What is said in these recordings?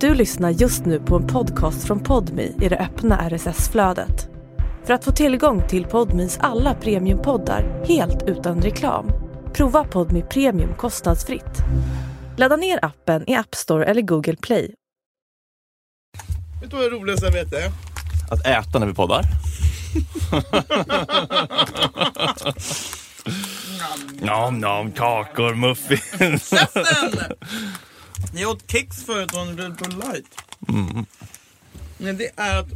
Du lyssnar just nu på en podcast från Podmi i det öppna RSS-flödet. För att få tillgång till Podmis alla premiumpoddar helt utan reklam, prova Podmi Premium kostnadsfritt. Ladda ner appen i App Store eller Google Play. Vet du vad det roligaste jag vet är? Att äta när vi poddar. Nom, nom, kakor, muffins. Käften! Jag åt kex förut och en Red Bull light. Mm. Men det är att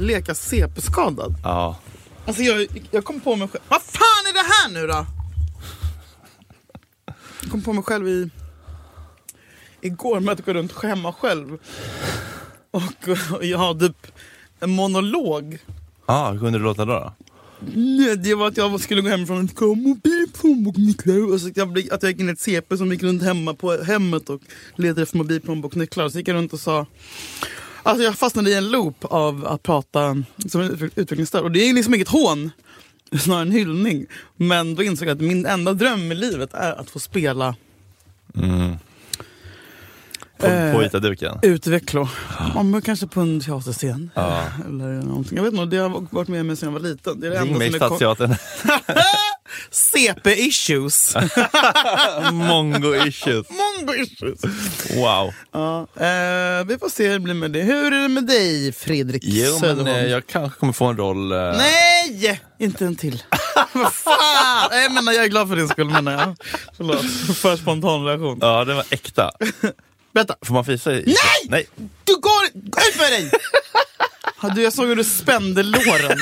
leka CP-skadad. ja, Alltså jag, jag kom på mig själv. Vad fan är det här nu då? Jag kom på mig själv i... Igår med att gå runt och skämma själv. Och, och jag har typ en monolog. ah, hur kunde det låta då? då? Nej, det var att jag skulle gå hemifrån och kom och bilplånbok nycklar. Och så jag, blev- att jag gick in i ett CP som gick runt hemma på hemmet och letade efter mobilplånbok nycklar. Så gick jag runt och sa... Alltså jag fastnade i en loop av att prata som en utveck- utvecklingsstörd. Och det är liksom inget hån, snarare en hyllning. Men då insåg jag att min enda dröm i livet är att få spela På, Mm. Eh. på Itaduken? utveckla. Om man kanske på en teaterscen. Ja. Eller någonting. Jag vet inte, det har varit med mig sedan jag var liten. Det är det Ring enda mig som är kon- Stadsteatern. CP-issues. Mongo issues. Mongo issues. Wow. Ja, eh, vi får se hur det blir med det. Hur är det med dig, Fredrik Jo, men Söderholm? eh, jag kanske kommer få en roll. eh, Nej! Inte en till. Vad fan! Nej, Jag menar, jag är glad för din skull, menar jag. Förlåt, för spontan reaktion. Ja, den var äkta. Vänta, Får man fisa i? Nej! Nej! du går... Gå ut med dig! Ja, Du, jag såg hur du spände låren.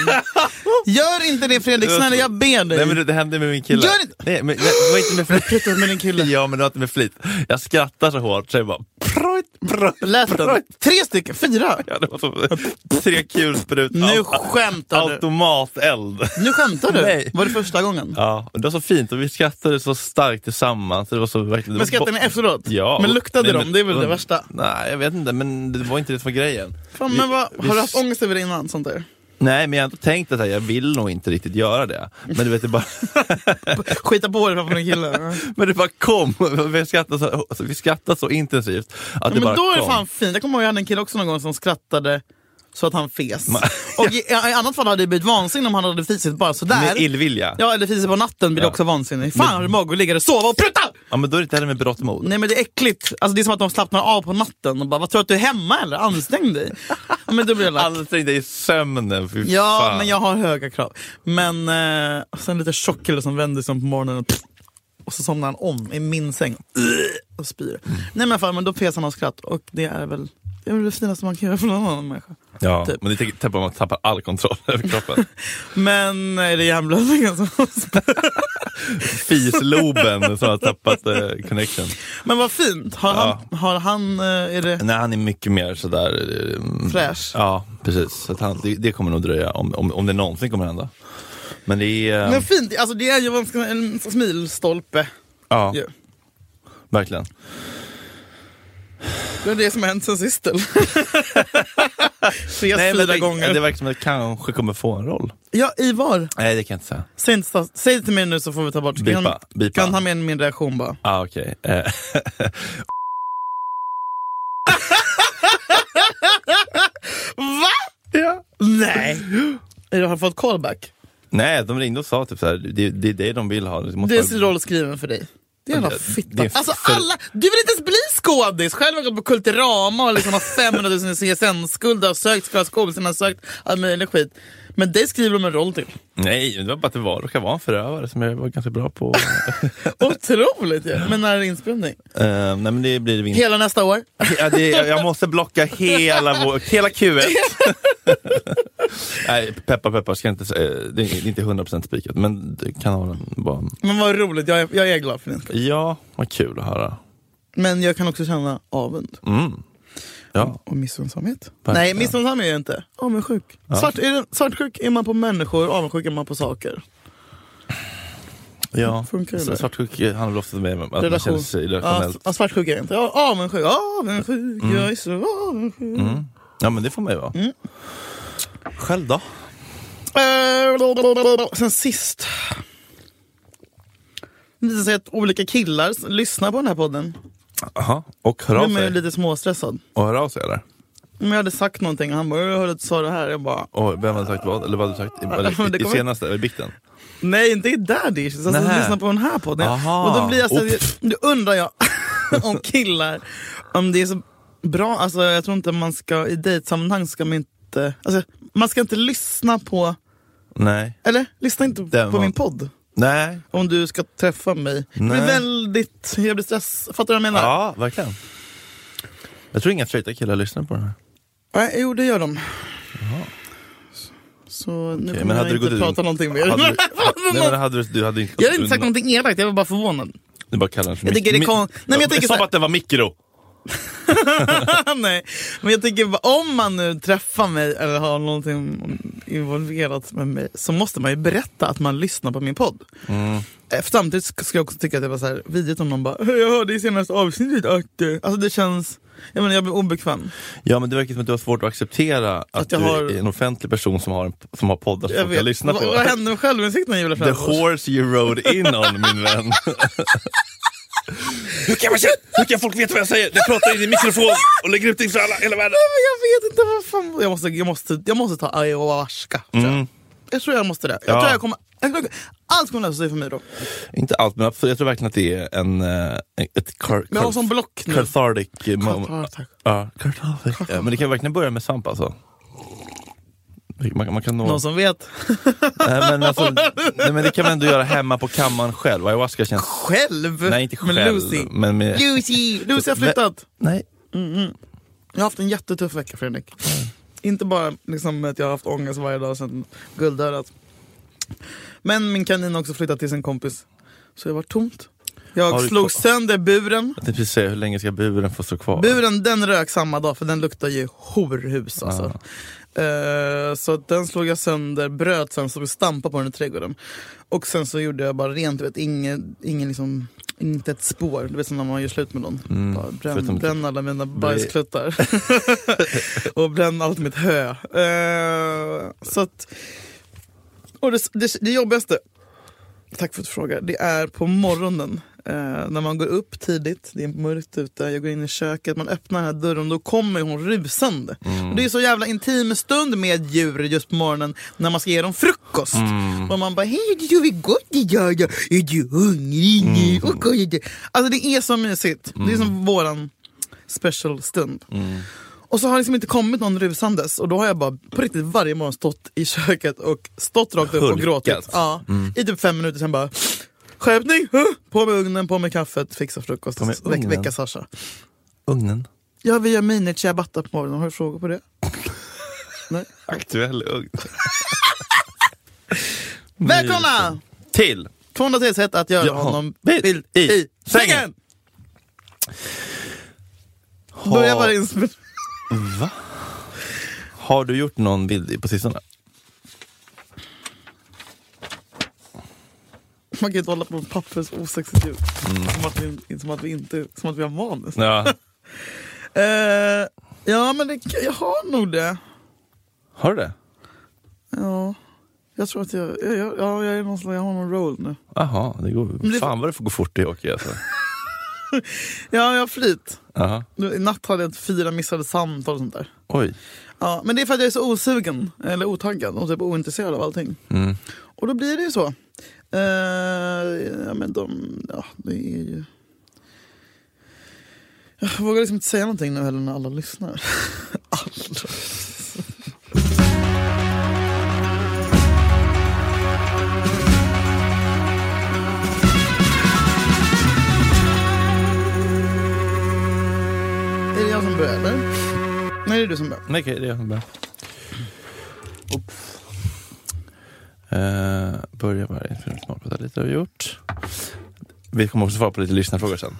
Gör inte det, Fredrik. Snälla, jag ber dig. Nej men det, det hände med min kille. Gör inte- Nej, men jag, det var inte med flit. Pruttar med din kille. Ja men det var inte med flit. Jag skrattar så hårt så jag bara projt, projt, Lät den? projt. Tre stycken? Fyra? Ja, det var så, tre kulsprut. Nu skämtar du. Automateld. Nu skämtar du? Nej. Var det första gången? Ja, och det var så fint och vi skrattade så starkt tillsammans. Det var så verkligen... Men skrattade ni efteråt? Ja. Men luktade Nej, de? Det är väl det värsta? Nej, jag vet inte, men det var inte det som var grejen. Fan, Vi- men vad, vi- har du haft ångest över det innan? Sånt där? Nej, men jag har inte tänkt att jag vill nog inte riktigt göra det. Men du vet, det bara... Skita på dig framför en kille. Ja. Men det bara kom! Vi skrattade så, alltså, vi skrattade så intensivt att det Men bara då är det kom. fan fint. Jag kommer ihåg jag hade en kille också någon gång som skrattade så att han fes. Och i, i annat fall hade det blivit vansinne om han hade fisit bara sådär. Med illvilja. Ja. ja, eller fisit på natten blir det Ja. också vansinne. Fan, har du mag att ligga där och sova och pruta? men då är det inte heller med berått mod. Nej men det är äckligt. Alltså, det är som att de slappnar av på natten och bara, vad tror du att du är hemma eller? Ansträng dig. Ja, men då blir det lack. Ansträng dig i sömnen, fy Ja, fan. men jag har höga krav. Men eh, och sen lite tjock kille som vänder sig om på morgonen och, och så somnar han om i min säng och spyr. Mm. Nej men fan, men då pes han av skratt och det är väl det, är väl det finaste man kan göra för någon annan människa. Ja, typ. men det tänker tappar man tappar all kontroll över kroppen. Men är det hjärnblödningen som Fisloben som har tappat eh, connection. Men vad fint! Har han, har han eh, är det Nej, han är mycket mer sådär... eh, mm, Fräsch. Ja, precis. Så att han, det, det kommer nog dröja, om, om, om det någonsin kommer hända. Men det är... eh, men fint, alltså det är ju en, en smilstolpe. ja, ju. verkligen. Det är det som har hänt sen sist. eller? Ses men fyra det, gånger. Det verkar som att jag kanske kommer få en roll. Ja, i var? Nej, det kan jag inte säga. Säg, inte, stats- säg till mig nu så får vi ta bort. Kan, Bipa, bipa. kan ta med min reaktion bara. Ah, okej. Eh, Va? ja. Nej. Har du fått callback? Nej, de ringde och sa typ såhär, det, det är det de vill ha. Du måste Det är bara- sin roll skriven för dig. Det är en jävla Det- fitta. det är Alltså för- alla, du vill inte ens bli skådis! Själv har jag gått på Kulturama och liksom har 500 000 i CSN-skulder, har sökt Skådis kompisarna, har sökt all möjlig skit. Men dig skriver de en roll till. Nej, det var bara att det var, råkade vara en förövare som jag var ganska bra på. Otroligt ju! Men när är det inspelning? Eh, nej men det blir vinter. Hela nästa år? Ja, det, jag måste blocka hela, vår, hela Q1. nej, peppa peppa, ska inte, säga- eh, det är inte 100% spikat men det kan ha den bara. Men vad roligt, jag är, jag är glad för din skull. Ja, vad kul att höra. Men jag kan också känna avund Mm. Ja. och missunnsamhet. Verkligen. Nej, missunnsam är jag inte. Avundsjuk. Svart, är det, svartsjuk är man på människor, avundsjuk är man på saker. ja. Funkar det Så där? Svartsjuk handlar väl ofta med att man Relation. känner sig Ja, relationellt. s- ja, svartsjuk är jag inte. Ja, Avundsjuk, avundsjuk, Mm. jag är så avundsjuk. Ja men det får man ju vara. Mm. Själv då? Eh, blablabla. Sen sist. Det visar sig att olika killar s- lyssnar på den här podden. Aha. Och hör av Blev man ju sig. lite småstressad. Och hör av sig eller? Men jag hade sagt någonting och han bara, jag hörde att du sa det här. Jag bara, Och vem hade sagt vad? Eller vad hade du sagt? I, Det eller, i, i kommer- senaste, i bikten? nej inte i Daddies, alltså Nähä. lyssna på den här podden. Aha. Och då blir jag så, Oh. nu undrar jag om killar, om det är så bra, alltså jag tror inte man ska, i dejtsammanhang ska man inte, alltså man ska inte lyssna på, Nej. eller lyssna inte Den på var- min podd. Nej. Om du ska träffa mig. Jag blir Nej. väldigt, jag blir stressad, fattar du vad jag menar? Ja, verkligen. Jag tror inga straighta killar lyssnar på den här. Nej, jo det gör de. Så nu kommer men hade jag du inte gått prata ut- någonting mer. Hade du, nej, men hade du, du hade inte... jag hade inte sagt du, någonting elakt, jag var bara förvånad. Du bara kallar den för Jag tycker det är kon- Nej, men jag tänker så Som här- att det var mikro! Nej, men jag tänker bara, om man nu träffar mig eller har någonting involverat med mig så måste man ju berätta att man lyssnar på min podd. Mm. Eh, Samtidigt sk- skulle jag också tycka att det var så här vidrigt om någon bara "Hej, “Jag hörde i senaste avsnittet att...” eh." Alltså det känns... Jag menar jag blir obekväm. Ja men det verkar som att du har svårt att acceptera att, Att du jag har- är en offentlig person som har, en, som har poddar som Jag folk vet. kan lyssna på. Vad, vad hände med självinsikten Julia The Frändfors? horse you rode in on min vän. hur, kan man, se- hur kan folk veta vad jag säger? Jag pratar in i mikrofon och lägger ut det inför alla, hela världen. Nej, men jag vet inte vad fan... Jag måste, jag måste, jag måste ta ayahuasca. Tror jag. jag tror jag måste det. Jag Mm. Ja. tror jag kommer... Jag tror, allt kommer lösa sig för mig då. Inte allt men absolut, jag tror verkligen att det är en, eh, ett car, Men jag har sån block nu. Mm. cathartic moment. Cathartic. Ja, cathartic. Ja, men det kan verkligen börja med svamp alltså. Man, man kan nå... Någon som vet? nej, men alltså, nej, men det kan man ändå göra hemma på kammaren själv. Ayahuasca känns Själv? Nej, inte själv. Men Lucy. Men med... Lucy! Lucy har Men- flyttat. Nej. Jag har haft en jättetuff vecka Fredrik. Inte bara liksom att jag har haft ångest varje dag sedan guldörat. Men min kanin har också flyttat till sin kompis. Så det var tomt. Har Jag du- slog sönder buren. Jag tänkte precis säga, hur länge ska buren få stå kvar? Buren den rök samma dag för den luktar ju horhus alltså. Eh, så att den slog jag sönder, bröt sen, stod och stampade på den i trädgården. Och sen så gjorde jag bara rent, du vet, ingen, ingen liksom, inte ett spår. Du vet som när man gör slut med någon. bara bränn, förutom- bränn alla mina bajskluttar. och bränn allt mitt hö. Eh, så att, och det, det, det jobbigaste, tack för att du frågar, det är på morgonen. Eh, när man går upp tidigt, det är mörkt ute, jag går in i köket, man öppnar den här dörren, då kommer hon rusande. Och det är så jävla intim stund med djur just på morgonen när man ska ge dem frukost. Mm. Och man bara, hej, det gör vi gott idag, ja. är du hungrig nu? Mm. Och går jag till-" Alltså det är så mysigt, det är som våran special stund. Mm. Och så har det liksom inte kommit någon rusandes och då har jag bara på riktigt varje morgon stått i köket och stått rakt upp och Hulkat. Mm. gråtit. Ja, I typ fem minuter sen bara Skärpning! huh? På med ugnen, på med kaffet, fixa frukost, På med väck, ugnen? väcka Sasha. Ugnen. Ja, vi gör mini ciabatta på morgonen. Har du frågor på det? Nej. Aktuell ugn. Välkomna! Till! 200 tills hett att göra Ja, honom bild bild i i sängen. sängen! Börja vara inspelning. Va? Har du gjort någon bild i- på sistone? Man kan ju inte hålla på med papper så osexigt ljud. Mm. Som, att vi, som, att vi inte, som att vi har manus. Ja. Eh, ja, men det, jag har nog det. Har du det? Ja, jag tror att jag, jag, jag, ja, jag, är någon, slags- jag har någon roll nu. Jaha, det det- går... Fan vad det får gå fort i hockey alltså. Ja, jag har flit. Jaha. Nu, I natt hade jag fyra missade samtal och sånt där. Oj. Ja, men det är för att jag är så osugen, eller otaggad och typ ointresserad av allting. Mm. Och då blir det ju så. Eh, ja, men de, ja, det är ju... Jag vågar liksom inte säga någonting nu heller när alla lyssnar. alla. Är det jag som börjar eller? Nej, det är du som börjar. Nej, okej, det är jag som börjar. Oops. Eh, börja varje inspelning med att prata lite har vi gjort. Vi kommer också svara på lite lyssnarfrågor sen.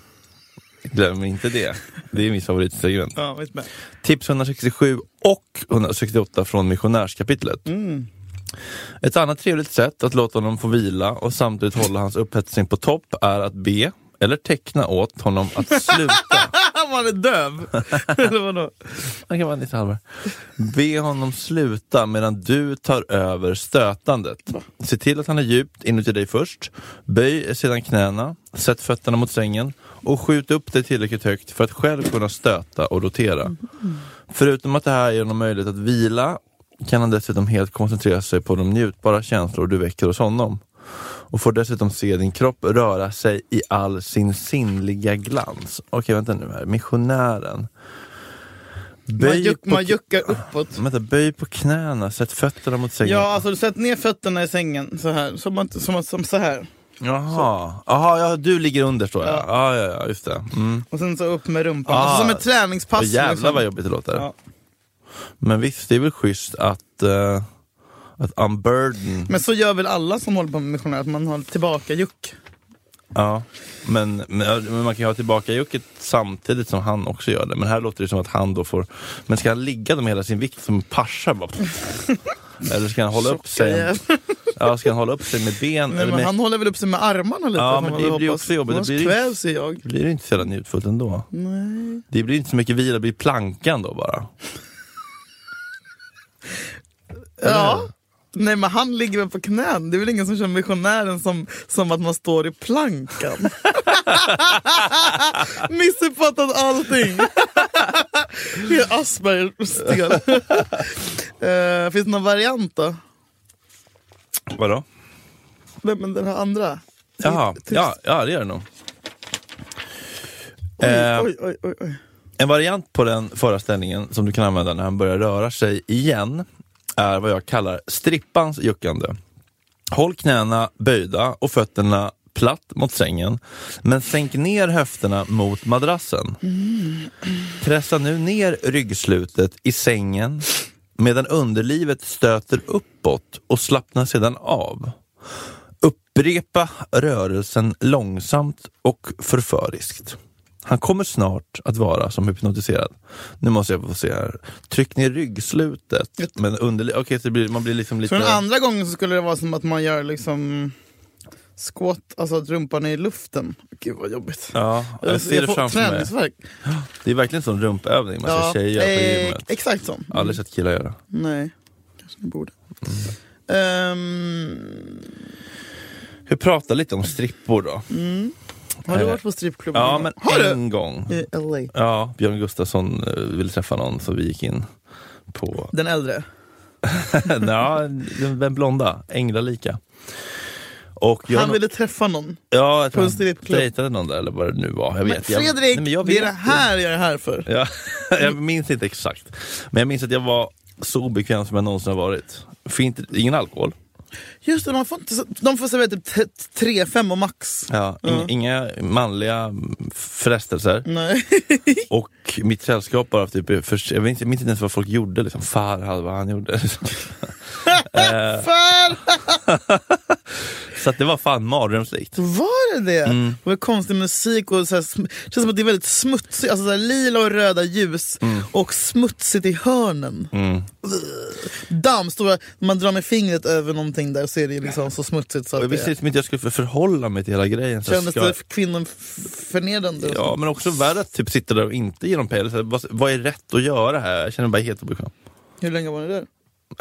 Glöm inte det. Det är mitt favoritsegment. Ja, vet med. Tips 167 och 168 från missionärskapitlet. Mm. Ett annat trevligt sätt att låta honom få vila och samtidigt hålla hans upphetsning på topp är att be eller teckna åt honom att sluta. Man är döv! eller vadå? Han kan vara Nisse Hallberg. Be honom sluta medan du tar över stötandet. Se till att han är djupt inuti dig först. Böj sedan knäna. Sätt fötterna mot sängen. och skjut upp det tillräckligt högt för att själv kunna stöta och rotera. Förutom att det här ger honom möjlighet att vila kan han dessutom helt koncentrera sig på de njutbara känslor du väcker hos honom. Och får dessutom se din kropp röra sig i all sin sinnliga glans. Okej, vänta nu här. Missionären. Man, Böj, juck, på, man juckar uppåt. vänta, böj på knäna, sätt fötterna mot sängen. Ja, alltså sätt ner fötterna i sängen så här. Som, att- som, att- som så här. Jaha, Aha, ja, du ligger under står jag. Ja. Ja, ja, ja, just det. Mm. Och sen så upp med rumpan. Ah. Alltså, som ett Och träningspass. jävlar liksom. vad jobbigt det låter. Ja. Men visst, det är väl schysst att, eh, att unburden. Men så gör väl alla som håller på med missionär, att man har tillbaka juck. Ja. Men, men, men man kan ju ha tillbaka jucket samtidigt som han också gör det. Men här låter det som att han då får... Men ska han ligga då med hela sin vikt som en pascha? Bara, eller ska han hålla upp sig? Ja, ska han hålla upp sig med ben? Nej, eller men med, han håller väl upp sig med armarna lite. Ja, får men man det väl blir hoppas. också jobbigt. Det Annars blir ju- kvävs ju jag. Blir det inte så jävla njutfullt ändå? Nej. Det blir inte så mycket vila, det blir plankan då bara. Ja. Nej men han ligger väl på knän. Det är väl ingen som kör missionären som, som att man står i plankan. Missuppfattat allting. Helt Asperger-stel. Eh, finns det någon variant då? Vadå? Nej men den här andra. Jaha, Tips. ja, ja det gör det nog. Oj, Eh, oj, oj, oj, oj. En variant på den förra ställningen som du kan använda när han börjar röra sig igen är vad jag kallar strippans juckande. Håll knäna böjda och fötterna platt mot sängen, men sänk ner höfterna mot madrassen. Pressa nu ner ryggslutet i sängen medan underlivet stöter uppåt och slappnar sedan av. Upprepa rörelsen långsamt och förföriskt. Han kommer snart att vara som hypnotiserad. Nu måste jag få se här. Tryck ner ryggslutet. Men underlivet... Okej, så det blir, man blir liksom lite... Så den andra gången så skulle det vara som att man gör liksom squat, alltså att rumpan är i luften. Gud vad jobbigt. Ja, jag ser det får framför mig. träningsvärk. Det är verkligen en sån rumpövning man ser tjejer göra på eh, gymmet. Exakt så. Aldrig sett killar göra. Nej, kanske ni borde. Ehm, Vi pratar lite om strippor då. har du Eh, varit på strippklubben? Ja, någon men gång? har du? en gång. I LA. Ja, Björn Gustafsson eh, ville träffa någon så vi gick in på Den äldre? ja, den, den blonda, änglalika. Och jag, Han ville träffa någon. ja, jag tror på en han strippklubb. dejtade någon där eller vad det nu var. Jag Men vet. jag, Fredrik, nej, men jag det är vet det här jag är här för. Ja, jag minns inte exakt. Men jag minns att jag var så obekväm som jag någonsin har varit. Fint, ingen alkohol. Just det, man får inte, de får servera typ t- tre, fem och max. Ja, in, Inga manliga mm, frestelser. Nej. Och mitt sällskap bara, typ, för, jag minns jag minns inte ens vad folk gjorde. Liksom. Farhad, vad han gjorde. liksom. Eh. för så att det var fan mardrömslikt. var det det? Mm. Det var konstig musik och så här, sm- det känns som att det är väldigt smutsigt. Alltså så här, lila och röda ljus och smutsigt i hörnen. Mm. Damm, stora, man drar med fingret över någonting där så är det liksom så smutsigt så Och jag att visste det liksom inte hur jag skulle för- förhålla mig till hela grejen. Så jag kändes ska- det för kvinnan f- förnedrande. och Ja, så. men också värre att typ sitta där och inte ge dem pejl. Så här, Vad, vad är rätt att göra här? Jag känner mig bara helt obekväm. Hur länge var ni där? Nej,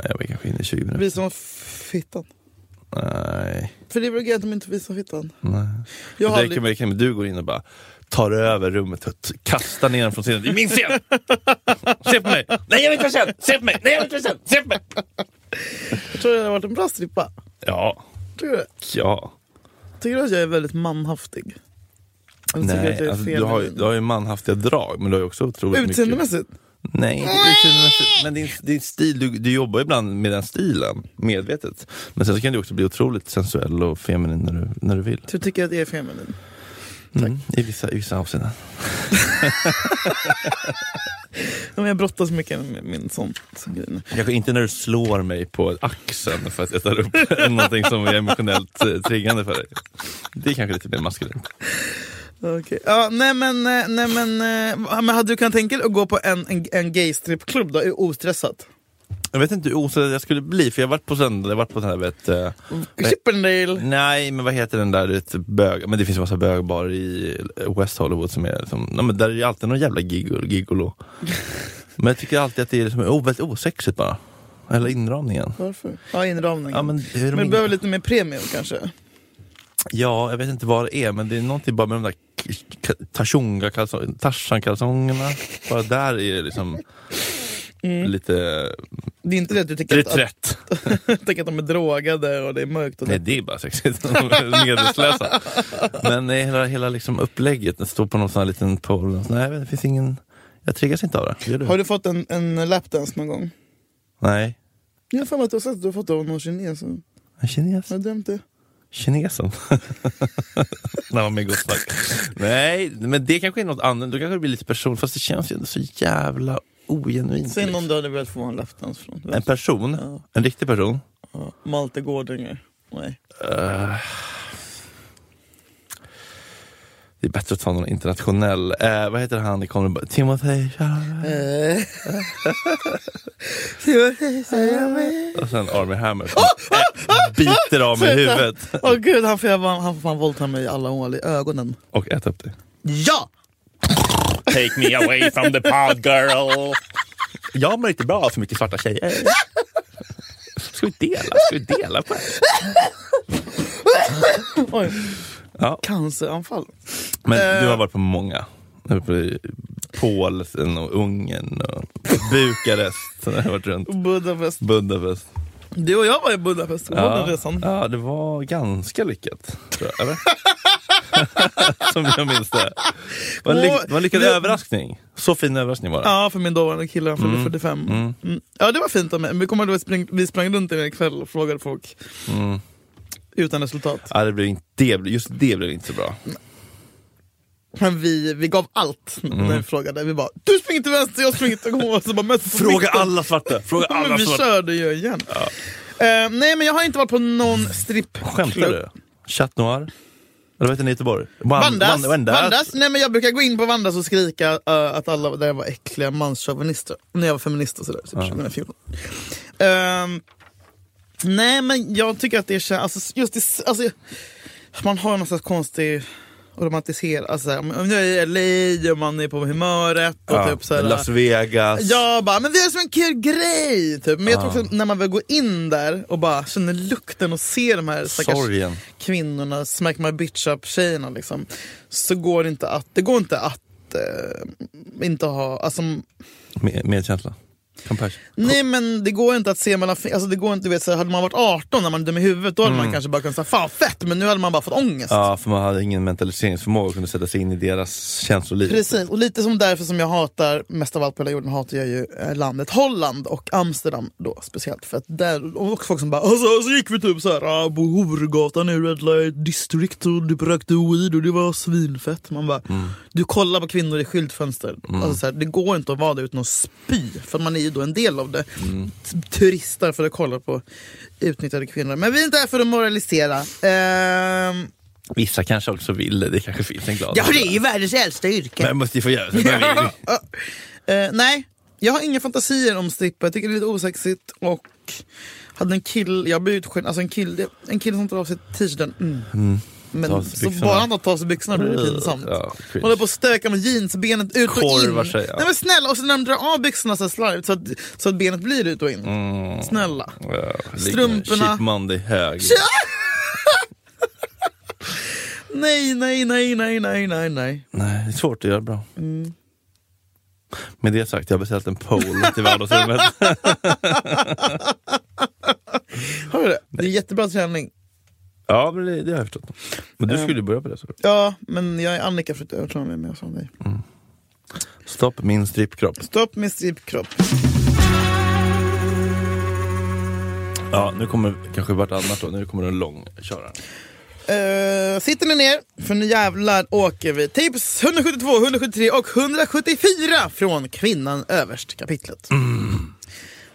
jag var kanske inne i 20 minuter. Visade man f- fittan? Nej, För det är väl grejen att de inte visar fittan? nej. Jag har det räcker aldrig... med, det räcker med att du går in och bara tar över rummet och t- kastar ner den från scenen. Det är min scen! Se på mig! Nej, jag vill inte vara känd! Se på mig! Nej, jag vill inte vara känd! Se på mig! Jag tror det hade varit en bra strippa. Ja, Tror du det? ja. Tycker du att jag är väldigt manhaftig? Eller tycker Nej, du alltså, att jag du, är har, ju- feminin? du har ju manhaftiga drag, men du har ju också otroligt mycket... Utseendemässigt? Nej, inte utseendemässigt. Men din, din stil, du, du jobbar ju ibland med den stilen, medvetet. Men sen så kan du också bli otroligt sensuell och feminin när du, när du vill. Du Typ tycker att jag är feminin? Mm, i, vissa, I vissa avseenden. Ja, men Jag brottas mycket med min sån, sån grej nu. Kanske inte när du slår mig på axeln för att jag tar upp någonting som är emotionellt eh, triggande för dig. Det är kanske lite mer maskulint. Okej. Ja, nej men, eh, nej, men, eh, men hade du kunnat tänka dig att gå på en, en, en gay strippklubb då? Ostressat? Jag vet inte hur osäker jag skulle bli, för jag har varit på sån, jag har varit på sån här, vet, eh, Chippendale? nej men vad heter den där, du vet, bög, men det finns en massa bögbarer i West Hollywood som är, som, nej, men där är ju alltid någon jävla gigolo, gigolo. Men jag tycker alltid att det är liksom, oh, väldigt osexigt bara. Eller inramningen. Varför? Ja, inramningen. Ja, men men, hur de du in- behöver lite mer premium kanske? ja, jag vet inte vad det är, men det är någonting bara med de där Tarzan-kalsongerna. Bara där är det liksom lite Det är inte det att du tycker att, att, reträtt. tänker att de är drogade och det är mörkt. Och Nej, det. det är bara sexigt. Medvetslösa. Men det är hela, hela liksom upplägget, det står på någon sån här liten pol. och så, Nej, det finns ingen... Jag triggas inte av det. Gör du? Har du fått en, en lapdance någon gång? Nej. Jag har för mig att du har sett att du har fått av någon kines. Har En kines. jag drömt det? Kinesen. När man med gott snack. Nej, men det kanske är något annat. Då kanske det blir lite person. Fast det känns ju ändå så jävla ogenuint. Säg någon liksom. du hade velat få en lapdance från. Vem? En person. Ja. En riktig person. Ja. Malte Gårdinger. Nej. Eh, det är bättre att ta någon internationell. Eh, vad heter han i Connery? Timothy Chalamet. Eh. Se vad jag säger mig. Och sen Army Hammer. som ä- Biter av mig Ah, Sluta. huvudet. Åh gud, han får, jag, bara- han får fan våldta mig i alla hål i ögonen. Och äta upp det. Ja! Take me away from the pod girl. Jag mår inte bra av för mycket svarta tjejer. Ska vi dela? Ska vi dela på det? Oj. Ja. Canceranfall. Men Eh. du har varit på många. Du har varit på Polen och Ungern och Bukarest. Du har varit runt. Budapest. Budapest. Du och jag var i Budapest. Kommer du ihåg den resan? ja, det var ganska lyckat. Tror jag, eller? Som jag minns det. Det var en lyck- det var en lyckad Det- överraskning. Så fin överraskning var det. Ja, för min dåvarande kille. Han fyllde 45. Mm. Ja, det var fint av mig. Vi kommer ihåg att vi sprang, vi sprang runt i en kväll och frågade folk. Mm. Utan resultat. Ja, det blev inte, det, blev- just det blev inte så bra. Men vi, vi gav allt Mm. när vi frågade. Vi bara, du springer till vänster, jag springer till höger. Så bara, möttes på Fråga mitten. alla svarta! Fråga Ja, alla Men vi svarta! körde ju igen. Eh, nej, men jag har inte varit på någon strippklubb. Skämtar du? Chat Noir? Eller vad heter den i Göteborg? Wan- Vandas. Wan- Wandas. Vandas. Nej, men jag brukar gå in på Vandas och skrika eh, att alla där var äckliga manschauvinister. När jag var feminist och sådär, typ 2014. Ehm, nej, men jag tycker att det känns... Alltså, just det, alltså, man har någon slags konstig romantisera. Alltså, så här, om jag är i LA och man är på humöret. Och Ja, typ, så här, Las Vegas. Ja, bara, men vi har som en kul grej! Typ. Men jag tror Ja. också att när man väl går in där och bara känner lukten och ser de här stackars Sorgen. kvinnorna, smack my bitch up tjejerna liksom. Så går det inte att, det går inte att eh, inte ha, alltså Med, medkänsla. Compassion. nej men det går inte att se mellan, fi- alltså det går inte, du vet så här, hade man varit 18 när man är dum i huvudet då hade man kanske bara kunnat säga fan fett men nu hade man bara fått ångest. Ja, för man hade ingen mentaliseringsförmåga och kunde sätta sig in i deras känsloliv. Precis, och lite som därför som jag hatar, mest av allt på hela jorden hatar jag ju eh, landet Holland och Amsterdam då speciellt. För att där, och också folk som bara alltså, så gick vi typ såhär på Horgatan i Red Light District och du rökte weed och det var svinfett. Man bara, du kollar på kvinnor i skyltfönster. Alltså, så här, det går inte att vara där utan att spy, för man är ju då en del av det. T- Turistar för att kolla på utnyttjade kvinnor. Men vi är inte här för att moralisera. Ehm, Vissa kanske också vill det. Det kanske finns en glad ja, det är ju världens äldsta yrke. Men jag måste ju få göra det. Ja. Eh, nej, jag har inga fantasier om strippa. Jag tycker det är lite osexigt. Och hade en kille, jag blev utskälld, alltså en kille, en kille som tar av sig t-shirten. Mm. Men Ta av sig så byxorna. Mm. bara han tar av sig byxorna blir det pinsamt. Ja, cringe. Håller på att stöka med jeansbenet ut och Korvar in. sig, ja. Nej men snälla, och sen när de drar av byxorna så här slarvigt så att, så att benet blir ut och in. Mm. Snälla. Ja, ligger Strumporna. Cheap Monday hög. Nej, nej, nej, nej, nej, nej, nej. Nej, det är svårt att göra bra. Mm. Med det sagt, jag har beställt en pole till vardagsrummet. Har du det? Det är jättebra träning. ja, men det, det har jag förstått. Men du skulle ju börja på det. Så. Ja, men jag är Annika försökte övertala mig men jag sa nej. Stopp min strippkropp. Stopp med strippkropp. Ja, nu kommer kanske vartannat då. Nu kommer det en lång köra. Eh, sitter ni ner, för nu jävlar åker vi. Tips 172, 173 och 174 från Kvinnan överst kapitlet.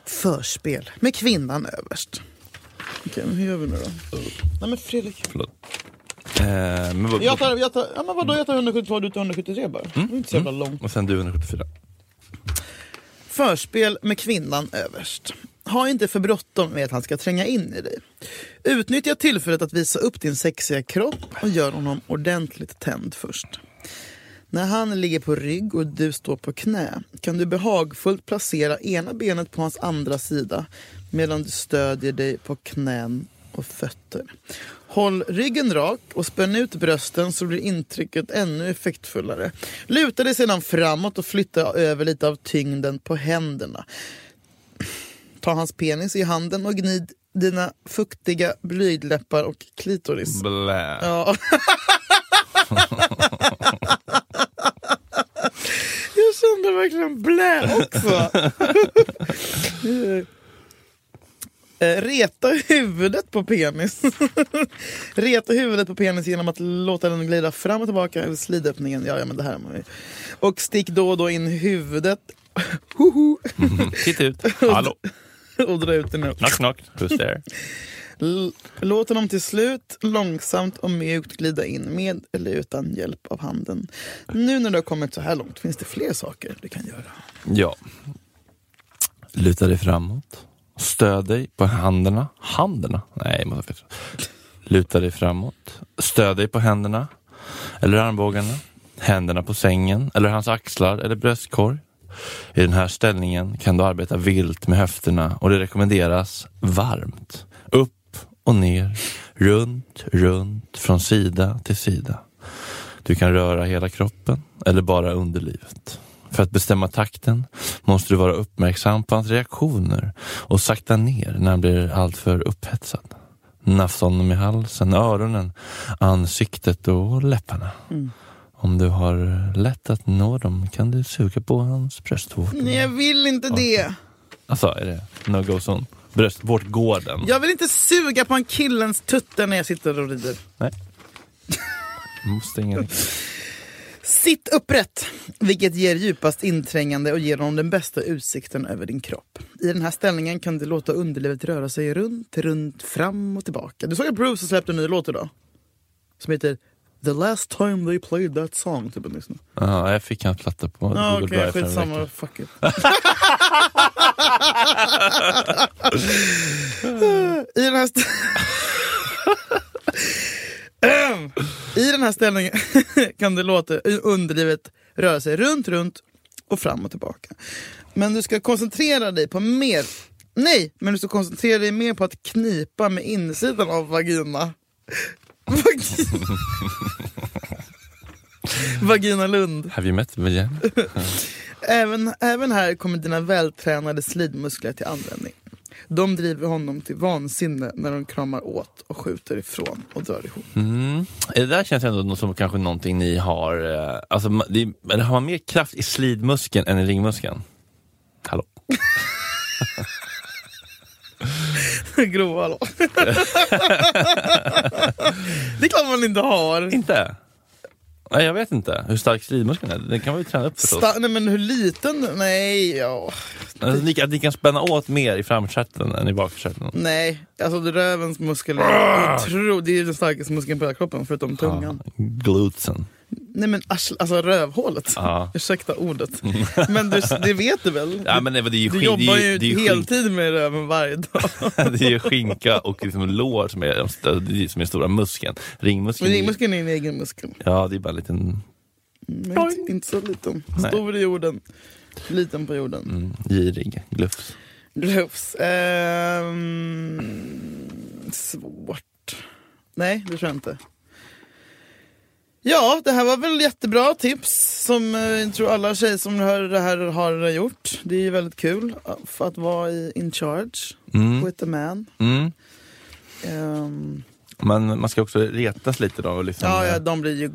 Förspel med kvinnan överst. Okej, men hur gör vi nu då? Nej men Fredrik. Förlåt. Eh, men vad, Jag tar, jag tar, ja, men vadå, jag tar 172, du tar 173 bara. Det är inte så jävla långt. Och sen du 174. Förspel med kvinnan överst. Ha inte för bråttom med att han ska tränga in i dig. Utnyttja tillfället att visa upp din sexiga kropp och gör honom ordentligt tänd först. När han ligger på rygg och du står på knä kan du behagfullt placera ena benet på hans andra sida medan du stödjer dig på knän på fötter. Håll ryggen rak och spänn ut brösten så blir intrycket ännu effektfullare. Luta dig sedan framåt och flytta över lite av tyngden på händerna. Ta hans penis i handen och gnid dina fuktiga blygdläppar och klitoris. Blä. Ja. Jag kände verkligen blä också. Eh, Reta huvudet på penis. Reta huvudet på penis genom att låta den glida fram och tillbaka över slidöppningen. Ja, ja, men det här har man ju. Och stick då och då in huvudet Hoho. Titta ut. Hallå. och dra ut den upp. Knock knock. Who's there? L- Låt honom till slut långsamt och mjukt glida in med eller utan hjälp av handen. Nu när du har kommit så här långt finns det fler saker du kan göra. Ja. Luta dig framåt. Stöd dig på händerna. Händerna? Nej, man fel. Luta dig framåt. Stöd dig på händerna. Eller armbågarna. Händerna på sängen. Eller hans axlar eller bröstkorg. I den här ställningen kan du arbeta vilt med höfterna och det rekommenderas varmt. Upp och ner. Runt, runt. Från sida till sida. Du kan röra hela kroppen eller bara underlivet. För att bestämma takten måste du vara uppmärksam på hans reaktioner och sakta ner när han blir alltför upphetsad. Nafsa honom i halsen, öronen, ansiktet och läpparna. Om du har lätt att nå dem kan du suga på hans bröstvårtor. Nej, jag vill inte det. Alltså, är det no-go zone? Bröstvårtgården? Jag vill inte suga på en killens tuttar när jag sitter och rider. Nej. Måste ingen... Sitt upprätt, vilket ger djupast inträngande och ger honom den bästa utsikten över din kropp. I den här ställningen kan du låta underlivet röra sig runt, runt, fram och tillbaka. Du såg att Bruce har släppt en ny låt idag? Som heter The last time they played that song. Typ, liksom. Ja, jag fick hans platta på Google Ja, okej, Drive för en skitsamma. vecka. Fuck it. I den här st- Ehm, I den här ställningen kan det låta underlivet röra sig runt, runt och fram och tillbaka. Men du ska koncentrera dig på mer... Nej, men du ska koncentrera dig mer på att knipa med insidan av vagina. Vagina, vagina Lund. Have you met Virginia? Även, även här kommer dina vältränade slidmuskler till användning. De driver honom till vansinne när de kramar åt och skjuter ifrån och drar ihop. Mm. Det där känns ändå något som kanske någonting ni har, eh, alltså, ma- det, eller har man mer kraft i slidmuskeln än i ringmuskeln? Hallå? Mm. Grova hallå. Det är klart man inte har. Inte? Nej, jag vet inte hur stark slidmuskeln är, den kan man ju träna upp förstås. Sta- nej men hur liten? Nej, ja. Alltså, ni, att ni kan spänna åt mer i framstjärten än i bakkärten. Nej, alltså rövens muskel är Ah! otro- Det är ju den starkaste muskeln på hela kroppen förutom tungan. Ja, glutesen. Nej men arsl- alltså rövhålet. Ja. Ursäkta ordet. Men du, det vet du väl? Ja, men det, det är ju, Du skin- jobbar det är ju det är skinka, heltid med röven varje dag. det är ju skinka och liksom lår som är, de st- det är som är stora muskeln. Ringmuskeln, Men är- ringmuskeln är en egen muskel. ja det är bara en liten Men inte, inte så liten. Nej. Stor i jorden, liten på jorden. mm, girig glufs. Glufs. Ehm, svårt. Nej, det tror jag inte. Ja, det här var väl jättebra tips som eh, jag tror alla tjejer som hör det här har gjort. Det är ju väldigt kul eh, att vara i, in charge Mm, with a man. mm. Ehm, Men man ska också retas lite då och liksom, ja, eh, ja, de blir ju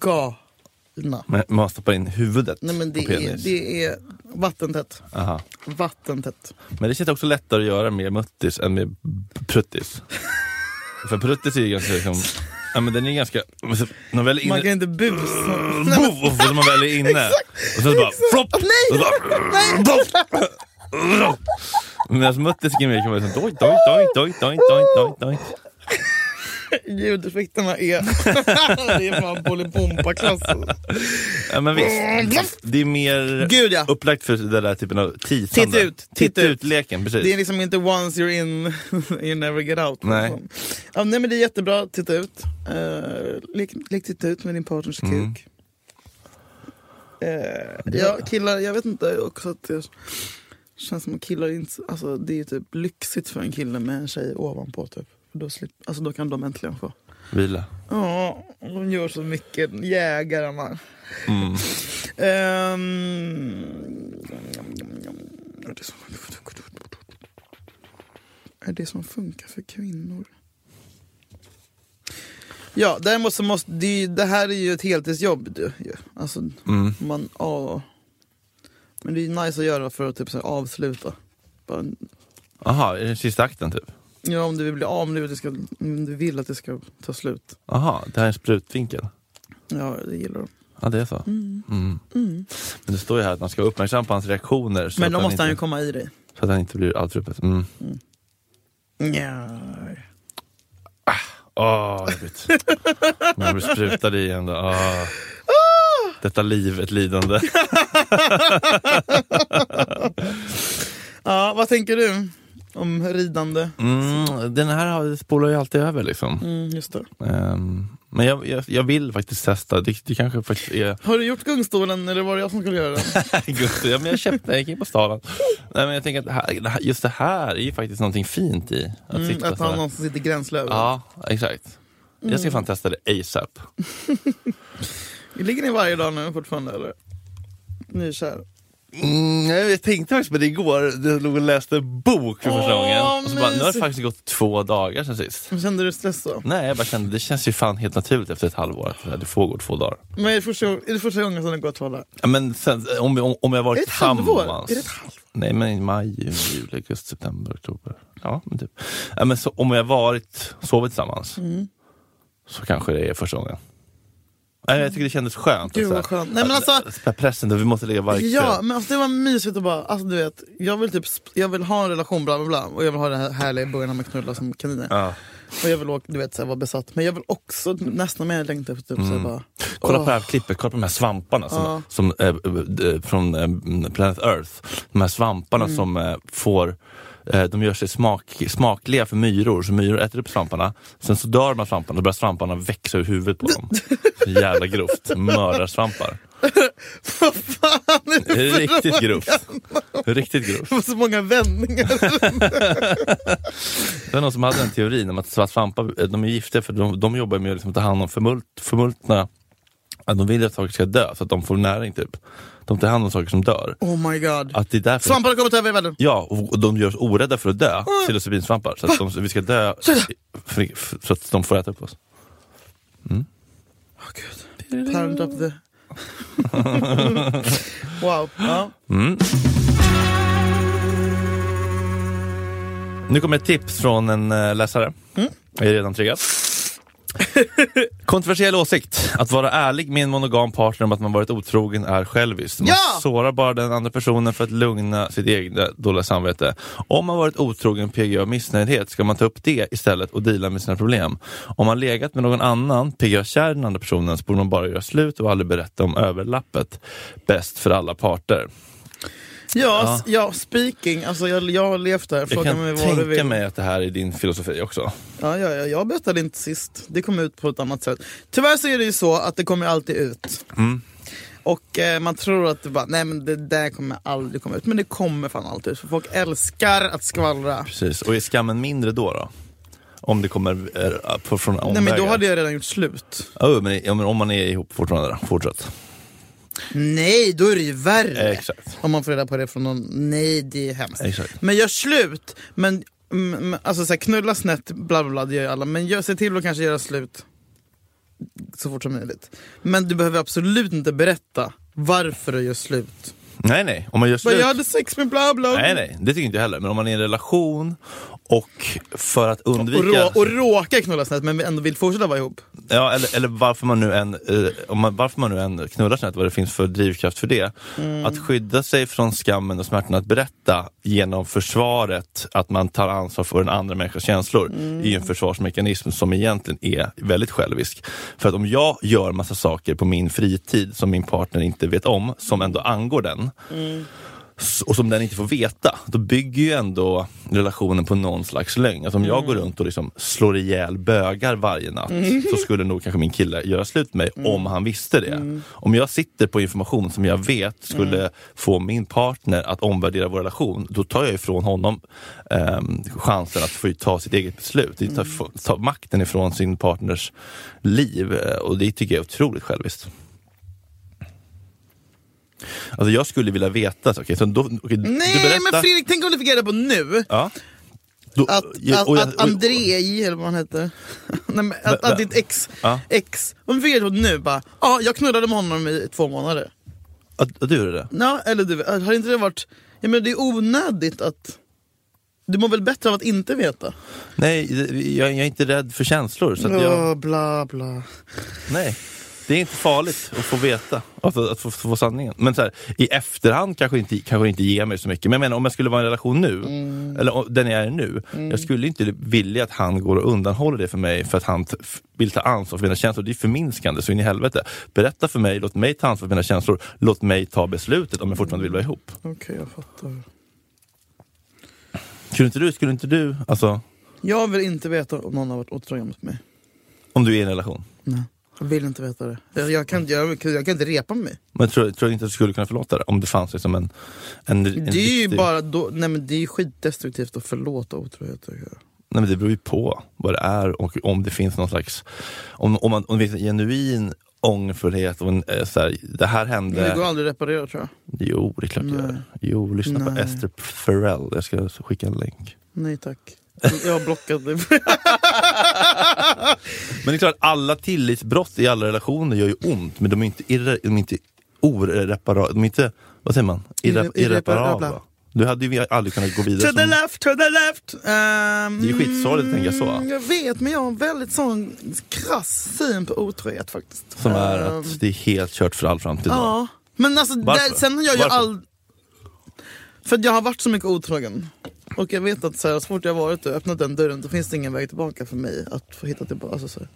galna. Men man stoppar in huvudet Nej men det på penis. är, det är vattentätt. Aha. Vattentätt. Men det känns också lättare att göra med muttis än med pruttis. För pruttis är ju ganska liksom, ja men den är ganska, alltså, när man väl är inne, Man kan inte busa. boff, och när man väl är inne, och sen så bara flopp! Nej! och så bara- Boff! Medan muttis kan man vara liksom doj, doj, doj, doj, doj, doj, doj, doj. Ljudeffekterna är... det är fan Bolibompa-klass. Ja men visst, det är mer Gud ja. upplagt för den där typen av tisande. Titt ut, titt ut. leken, precis. Det är liksom inte once you're in, you never get out. Nej. Liksom. Ja, nej men det är jättebra, titta ut. Uh, lek, lek titta ut med din partners Mm. kuk. Eh, ja killar, jag vet inte också att det känns som att killar inte... Alltså det är ju typ lyxigt för en kille med en tjej ovanpå typ. Då, slip, alltså, då kan de äntligen få. Vila. Ja, de gör så mycket, jägarna. Mm. Ehm, är, det som, är det som funkar för kvinnor? Ja, däremot så måste det, ju- det här är ju ett heltidsjobb. Du, ju. alltså, Mm. man, ja. Men det är ju nice att göra för att typ, så här, avsluta. Bara, Aha, är det sista akten typ? ja, om du vill bli av nu, det ska, om du vill att det ska ta slut. Aha, det här är en sprutvinkel. Ja, det gillar de. Ja, det är så. Mm. Men det står ju här att man ska vara uppmärksam på hans reaktioner. Så Men att då måste han ju inte, komma i dig. Så att han inte blir alltför öppen. Mm. Ja. Åh, jobbigt. När man blir sprutad i igen då. Åh. Detta liv, ett lidande. Ja, vad tänker du om ridande? Mm, den här har- spolar ju alltid över liksom. Mm, just det. Ehm, men jag, jag, jag vill faktiskt testa. Det, det kanske faktiskt är... Har du gjort gungstolen eller var det jag som skulle göra den? Gud, ja, men jag köpte, jag gick på staden. Nej, men jag tänker att det här, det här- just det här är ju faktiskt någonting fint i. Att Mm, sitta att sådär. han någonsin sitter gränslöver. Ja, exakt. Jag ska fan testa det ASAP. Ligger ni varje dag nu fortfarande eller? Nykär? Mm, jag tänkte faktiskt på det igår. Jag låg och läste en bok för första Åh, gången. Och så bara, nu har det mysigt. faktiskt gått två dagar sen sist. Kände du stress då? Nej, jag bara kände det känns ju fan helt naturligt efter ett halvår att det får gå två dagar. Men är det första, är det första gången som det går två dagar? Ja, Men sen, om, om, om jag Är varit det ett halvår? tillsammans. Är det ett halvår? Nej men i maj, juni, juli, augusti, september, oktober. Ja men typ. Ja, men så, om jag varit, sovit tillsammans Mm. så kanske det är första gången. Nej, jag tycker det kändes skönt. Gud, att så vad här- skönt. Nej, men alltså- att- att Pressen, då, vi måste ligga varje Ja, kväll. men alltså, det var mysigt att bara, alltså du vet, jag vill typ, sp- jag vill ha en relation bla bla bla och jag vill ha det här härliga i början när man knullar som kaniner. Ja. Och jag vill åka, du vet, så här, vara besatt. Men jag vill också nästan mer längta efter typ så här, bara, Mm. Kolla åh. på det här klippet, kolla på de här svamparna som, Ja. som, eh, eh, från eh, Planet Earth. De här svamparna Mm. som eh, får eh, de gör sig smak, smakliga för myror, så myror äter upp svamparna. Sen så dör de här svamparna, då börjar svamparna växa ur huvudet på dem. Så jävla grovt. Mördarsvampar. Vad fan är det för Riktigt roman? grovt. Riktigt grovt. Det var så många vändningar. Det var någon som hade en teori om att svart svampar eh, de är giftiga för de, de jobbar med att liksom ta hand om förmult, förmultna att de vill att saker ska dö så att de får näring. typ. De tar hand om saker som dör. Oh my god. Att det är därför Svampar har kommit över i världen. Ja, och och de görs orädda för att dö, psilocybinsvampar. Så att de, så vi ska dö för, för, så att de får äta upp oss. Mm. Åh gud. Parent of the... wow. Ja. Mm. Nu kommer ett tips från en eh, läsare. Jag är redan triggad. Kontroversiell åsikt. Att vara ärlig med en monogam partner om att man varit otrogen är själviskt. Man Ja! sårar bara den andra personen för att lugna sitt egna dåliga samvete. Om man varit otrogen PGA av missnöjdhet ska man ta upp det istället och deala med sina problem. Om man legat med någon annan, PGA kär i den andra personen, så borde man bara göra slut och aldrig berätta om överlappet. Bäst för alla parter. Ja, s- ja, speaking. Alltså, jag, jag har levt där. Jag Fråga mig kan vad du tänka vill. mig att det här är din filosofi också. Ja, ja, ja, jag berättade inte sist. Det kom ut på ett annat sätt. Tyvärr så är det ju så att det kommer alltid ut. Mm, Och eh, man tror att det bara, nej men det där kommer aldrig komma ut. Men det kommer fan alltid ut. För folk älskar att skvallra. Precis, och är skammen mindre då? då? Om det kommer eh, på- från omvägar? Nej men då hade jag redan gjort slut. Ja, men, ja, men om man är ihop fortfarande, då. fortsätt. Nej, då är det ju värre. Exakt. Om man får reda på det från någon. Nej, det är hemskt. Exakt. Men gör slut. Men, mm, men, alltså så här, knulla snett, bla bla bla, det gör ju alla. Men gör, se till att kanske göra slut så fort som möjligt. Men du behöver absolut inte berätta varför du gör slut. Nej, nej, om man gör Bara, slut. jag hade sex med bla bla. Nej, nej, det tycker inte jag heller. Men om man är i en relation och för att Och, undvika... rå, och råkar knulla snett men ändå vill fortsätta vara ihop. Ja, eller, eller varför man nu än, eh, om man, varför man nu än knullar snett, vad det finns för drivkraft för det. Att skydda sig från skammen och smärtan att berätta genom försvaret att man tar ansvar för den andra människans känslor är ju en försvarsmekanism som egentligen är väldigt självisk. För att om jag gör massa saker på min fritid som min partner inte vet om, som ändå angår den, s- och som den inte får veta, då bygger ju ändå relationen på någon slags lögn. Alltså om Mm. jag går runt och liksom slår ihjäl bögar varje natt så skulle nog kanske min kille göra slut med Mm. mig om han visste det. Om jag sitter på information som jag vet skulle Mm. få min partner att omvärdera vår relation, då tar jag ifrån honom ehm, chansen att få ta sitt eget beslut. Det tar, Mm. tar makten ifrån sin partners liv eh, och det tycker jag är otroligt själviskt. Alltså jag skulle vilja veta, så- okej, så då, okej, du Nej berättar- men Fredrik, tänk om du fick reda på nu Ja. Då- att, ja, att, och jag- att och- Andrei, eller vad han heter, Nej, men att, Va- va- att ditt ex, Ja. ex, om du fick reda på nu bara, ja jag knullade med honom i två månader. att, att du gjorde det? Ja, eller du, har inte det varit, jag menar det är onödigt att, du mår väl bättre av att inte veta? Nej, det- jag, jag är inte rädd för känslor. Så att jag, Ja, bla bla. nej. Det är inte farligt att få veta, att, att, få, få sanningen. Men så här, i efterhand kanske inte, kanske inte ger mig så mycket. Men jag menar, om jag skulle vara i en relation nu, Mm. eller om- den jag är i nu. Jag skulle inte vilja att han går och undanhåller det för mig för att han t- f- vill ta ansvar för mina känslor. Det är förminskande så in i helvete. Berätta för mig, låt mig ta ansvar för mina känslor. Låt mig ta beslutet om jag fortfarande vill vara ihop. Okej, jag fattar. Skulle inte du, skulle inte du, alltså Jag vill inte veta om någon har varit otrogen mot mig. om du är i en relation. Nej. Jag vill inte veta det. Jag, jag, kan, inte- jag, jag kan inte repa mig. Men tror, tror du inte att du skulle kunna förlåta det? Om det fanns liksom en, en, en det är ju riktig- bara då, nej men det är ju skitdestruktivt att förlåta otrohet. tycker jag. Nej, men det beror ju på vad det är och om det finns någon slags... Om, om, man, om det finns en genuin ångerfullhet och en, eh, så här, det här hände... Men det går aldrig att reparera tror jag. Jo, det är klart det Nej. gör. Jo, lyssna på Nej. Esther Perel. Jag ska skicka en länk. Nej tack. Jag har blockat dig. Men det är klart, alla tillitsbrott i alla relationer gör ju ont, men de är inte, irre, de är inte oreparabla. De är inte, vad säger man? Irre, Irre- irreparabla. irreparabla. Du hade ju aldrig kunnat gå vidare to the som- left, to the left. Um, det ju skitsorgligt att tänka så. Jag vet men jag har en väldigt sån krass syn på otrohet faktiskt. Som är Ehm, att det är helt kört för all framtid. Ja. Men alltså, Varför? där, sen har jag ju Varför? all... För att jag har varit så mycket otrogen. Och jag vet att så, här, så fort jag har varit och öppnat den dörren då finns det ingen väg tillbaka för mig att få hitta tillbaka. Alltså, så här.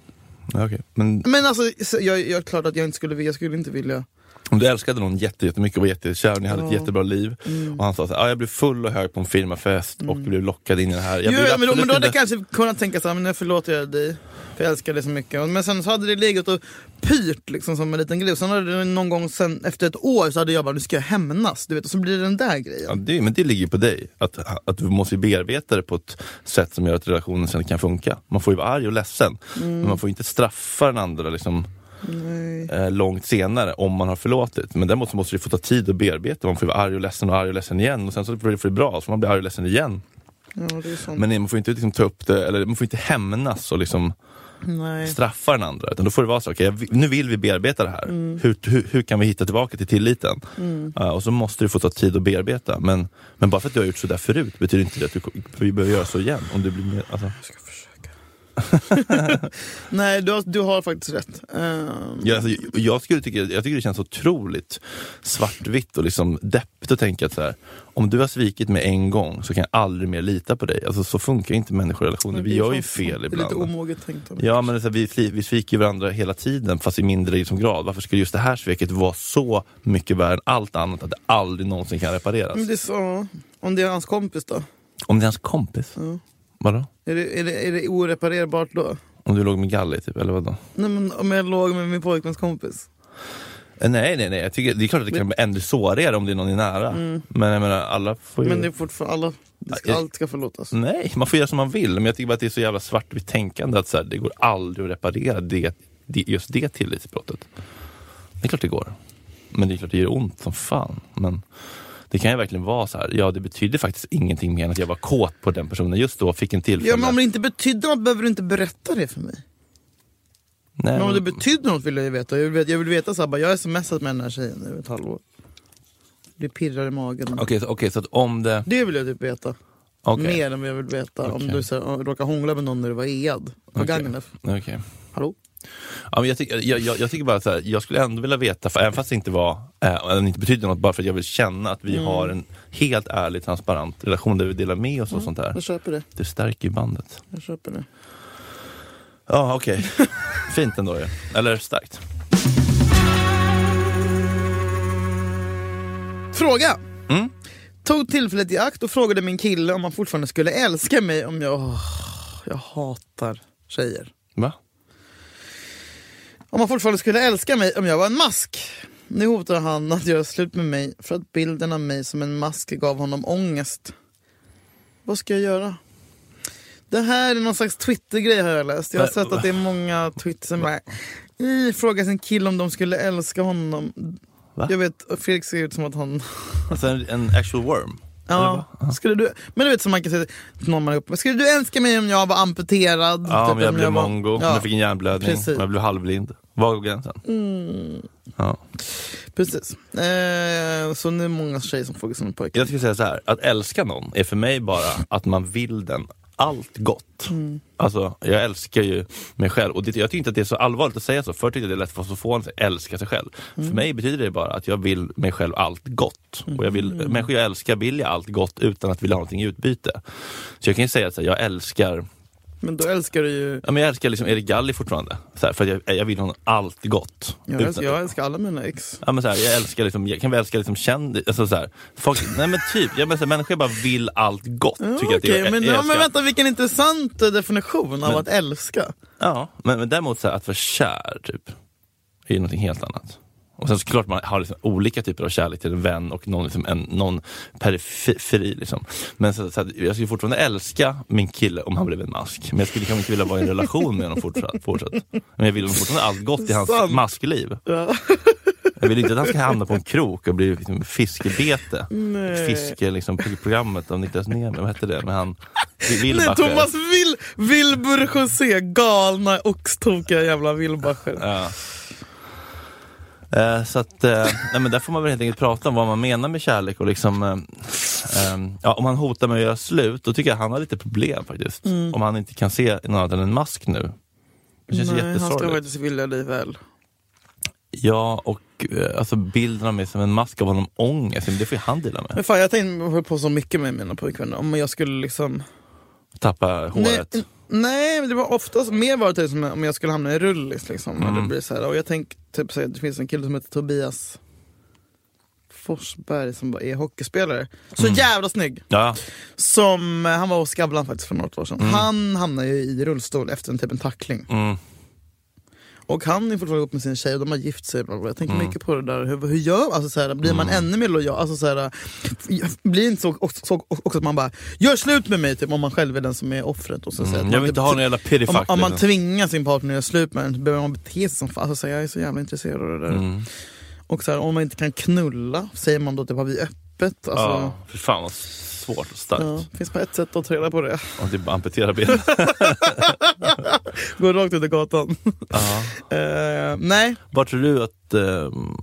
Ja, okej. Men Men alltså, så, jag, jag är klart att jag inte skulle vilja, jag skulle inte vilja. om du älskade någon jätte- jättemycket och var jättekär och ni hade ett Ja. Mm. jättebra liv och han sa så här, ah, jag blev full och hög på en firmafest och blev lockad in i det här. Jag Jo, blev men, då, men absolut då hade jag inte- kanske kunnat tänka så här, men nu förlåter jag dig. För jag älskar dig så mycket. Och- Men sen så hade det legat och pyrt liksom som en liten grej. Sen hade det någon gång sen, efter ett år så hade jag bara, nu ska jag hämnas. Du vet, och så blir det den där grejen. Ja, det, men det ligger ju på dig, att, att du måste ju bearbeta det på ett sätt som gör att relationen sen kan funka. Man får ju vara arg och ledsen, Mm. men man får ju inte straffa den andra liksom, Nej. eh, långt senare om man har förlåtit. Men däremot så måste du få ta tid att bearbeta, man får ju vara arg och ledsen och arg och ledsen igen och sen så får det bli bra, så får man bli arg och ledsen Mm. igen. Ja, det är sånt. Men nej, man får inte liksom, ta upp det, eller man får inte hämnas och liksom Nej. straffa den andra. Utan då får det vara så, okej, jag vi- nu vill vi bearbeta det här. Mm. Hur, hur, hur kan vi hitta tillbaka till tilliten? Ja, och så måste du få ta tid att bearbeta. Men, men bara för att du har gjort sådär förut betyder inte det att du ko- vi behöver göra så igen. Om du blir mer, alltså. Jag ska försöka. Nej, du har, du har faktiskt rätt. Ehm, jag, alltså, jag- jag, skulle tycka, jag tycker det känns otroligt svartvitt och liksom deppigt att tänka att så här, om du har svikit mig en gång så kan jag aldrig mer lita på dig. Alltså, så funkar inte människorelationer. men Vi det är gör fan- ju fel Det är lite ibland. omoget tänkt av mig. Ja, men det är så här, vi, fli- vi sviker ju varandra hela tiden fast i mindre liksom grad. Varför skulle just det här sveket vara så mycket värre än allt annat att det aldrig någonsin kan repareras? Men det är så, om det är hans kompis då? Om det är hans kompis? Ja. Vadå? Är det, är det, är det oreparerbart då? Om du låg med Galli typ, eller vadå? Nej, men om jag låg med min pojkväns kompis? Eh, Nej, nej, nej. Jag tycker, det är klart att det kan bli ännu sårigare om det är någon i nära. Men jag menar, alla får ju... Mm. Men det är fortfarande, alla, det ska, Ja, jag- allt ska förlåtas. Nej, man får göra som man vill. Men jag tycker bara att det är så jävla svartvitt tänkande att så här, det går aldrig att reparera det, det, just det tillitsbrottet. Det är klart det går. Men det är klart det gör ont som fan. Men det kan ju verkligen vara så här, ja det betyder faktiskt ingenting mer än att jag var kåt på den personen just då, fick en tillfälle. Ja, men om det inte betydde något behöver du inte berätta det för mig. Nej, Men om men- det betydde något vill jag ju veta. Jag vill veta, jag vill veta så här, bara, jag har smsat med den här tjejen nu ett halvår. Det pirrar i magen. Okej, så, okej, så att om det... Det vill jag typ veta. Okej. Mer än vad jag vill veta om Okej. du så här, råkar hångla med någon när du var ead på Okej. Gagnef. Okej. Hallå? Ja, men jag, tycker, jag, jag, jag tycker bara så här, jag skulle ändå vilja veta, för även fast det inte var, eh, eller inte betyder något, bara för att jag vill känna att Mm. vi har en helt ärlig, transparent relation där vi delar med oss och Mm. sånt där. Jag köper det. Det stärker ju bandet. Jag köper det. Ja, okej. Fint ändå ju. Eller starkt. Fråga! Mm. Tog tillfället i akt och frågade min kille om han fortfarande skulle älska mig om jag... Åh, jag hatar tjejer. Va? Om han fortfarande skulle älska mig om jag var en mask. Nu hotar han att göra slut med mig för att bilden av mig som en mask gav honom ångest. Vad ska jag göra? Det här är någon slags Twitter-grej har jag läst. Jag har Men- sett att det är många tweets som bara "Ih, frågar sin kille om de skulle älska honom. Va? Jag vet, Fredrik ser ut som att han... Alltså en, en actual worm? Typ Ja, skulle du... Men du vet som man kan säga till någon man är uppe med, Skulle du älska mig om jag var amputerad? Ja, Typ men jag om blev var- mongo, Ja. jag fick en hjärnblödning, Precis. Mm. jag blev halvblind. Var går gränsen? Ja. Precis. Eh, så nu är det många tjejer som frågar sina pojkar. Jag skulle säga så här, att älska någon är för mig bara att man vill den allt gott. Mm. Alltså, jag älskar ju mig själv och det, jag tycker inte att det är så allvarligt att säga så. Förr tyckte jag det lät för att älska sig själv. Mm. För mig betyder det bara att jag vill mig själv allt gott. Och jag vill, Mm. Människor jag älskar vill jag allt gott utan att vilja ha någonting i utbyte. Så jag kan ju säga att så här, jag älskar Men då älskar du ju... Ja, men jag älskar liksom Erik Galli fortfarande, så här, för att jag, jag vill honom allt gott. Jag Utan- älskar, jag älskar alla mina ex. Ja, men så här, jag älskar liksom, jag kan väl älska liksom kändis, alltså så här, folk, nej men typ, jag menar, så här, människor bara vill allt gott. tycker jag att Ah, Okej, jag, men, jag ja, men älskar. vänta vilken intressant eh, definition av Men- att älska. Ja, men, men däremot så här, att vara kär typ, är ju någonting helt annat. Och sen såklart man har liksom olika typer av kärlek till en vän och någon, liksom, en, någon periferi liksom. Men så, så här, jag skulle fortfarande älska min kille om han blev en mask. Men jag skulle kanske inte vilja vara i en relation med honom fortsatt. fortsatt. Men jag vill honom fortfarande allt gott i hans Sant. maskliv. Ja. Jag vill inte att han ska hamna på en krok och bli liksom fiskebete. Fiske, liksom, pro- programmet av Niklas Niemi, vad hette det? Men han, Nej, Wilbacher. Thomas Vil, Wilbur José, galna oxtokiga jävla Wilbacher. Ja. Eh, så att, eh, nej, men där får man väl helt enkelt prata om vad man menar med kärlek och liksom, eh, eh, ja, om han hotar med att göra slut, då tycker jag han har lite problem faktiskt. Mm. Om han inte kan se någon annan än en mask nu. Det känns Nej, han ska jättesorgligt. faktiskt vilja dig väl. Ja, och eh, alltså bilden av mig som en mask av honom ångest, men det får ju han dela med. Men fan, jag tänkte på så mycket med mina pojkvänner. Om jag skulle liksom... Tappa håret. Nej, nej, men det var oftast mer var det typ som om jag skulle hamna i rullis. Liksom, när Mm. det, blir så här. Och jag tänker typ så här, det finns en kille som heter Tobias Forsberg som bara är hockeyspelare. Så Mm. jävla snygg! Ja, Som, eh, han var hos Skavlan faktiskt för något år sedan. Han hamnade ju i rullstol efter en typ en tackling. mm. Och han är fortfarande ihop med sin tjej och de har gift sig. bla, bla, bla. Jag Mm. tänker mycket på det där. Hur, hur gör alltså, så här, Blir man ännu mer lojal? Alltså, så här, f- blir det inte så, också, så också att man bara gör slut med mig typ, om man själv är den som är offret? Och så, så här, Mm, att jag man vill inte typ- ha någon jävla om, pirifack. om man typ- liksom. tvingar sin partner att göra slut med den så behöver man bete sig som fan. Alltså, så här, jag är så jävla intresserad av det där. Mm. Och så här, om man inte kan knulla, säger man då typ har vi öppet? Alltså, Ja, för fan vad svårt och starkt. ja, finns bara ett sätt att ta reda på det. Och typ amputera benet. Gå rakt ut i gatan. Ja. Eh, nej, Vad tror du att... ehm,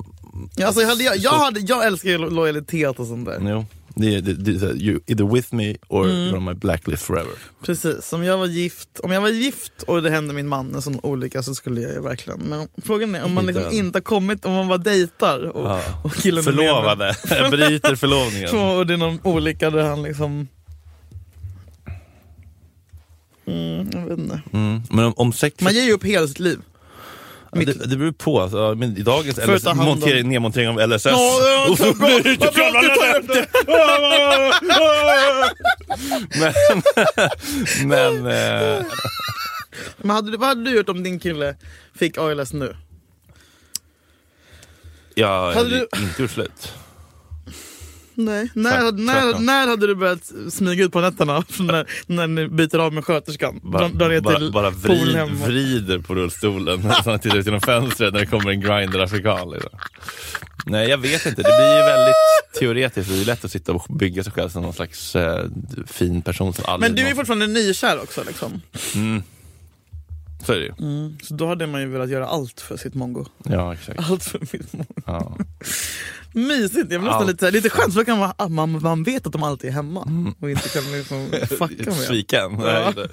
alltså, jag, hade, jag, jag, hade, jag älskar ju lo- lojalitet och sånt där. jo, det är, det, det, är så här, you either with me or Mm. you're on my blacklist forever. Precis, om jag var gift om jag var gift och det hände min man en sån olycka så skulle jag ju verkligen. Men frågan är om man liksom Inte än. inte har kommit, om man bara dejtar och, Ja. och killen är Oh. med mig. Förlovade, bryter förlovningen. Så, och det är någon olycka där han liksom... Mm, jag vet inte. Mm. Men om, om sex... Man ger ju upp hela sitt liv. Ja, det, det beror på. Alltså, ja, men I dagens För att LSS, ta hand om- montering, nedmontering av LSS. Ja, det var Och så så bra. blir det Vad bra att du tar upp det. men, men eh, Men hade, du- vad hade du gjort om din kille fick ALS nu? jag hade du- inte gjort slut. Nej. När, Tvärt- när, tvärtom. när hade du börjat smyga ut på nätterna? när, när ni byter av med sköterskan? Bara, Drar- drar ner bara, till bara vrid, poolhem och- vrider på rullstolen så han tittar ut genom fönstret när det kommer en grinder afrikan. Liksom. Nej, jag vet inte. Det blir ju väldigt teoretiskt. Det är lätt att sitta och bygga sig själv som någon slags eh, fin person som aldrig... Men du är ju någonsin- fortfarande nykär också liksom. mm. Så är det ju. Så då hade man ju velat göra allt för sitt mongo. Ja, exakt. Allt för mitt mongo. Ja. Mysigt, jag blir nästan Allt. lite, lite skönt för då kan man, att man, man vet att de alltid är hemma och inte kan liksom fucka med. Svika en. Nej, Ja. inte.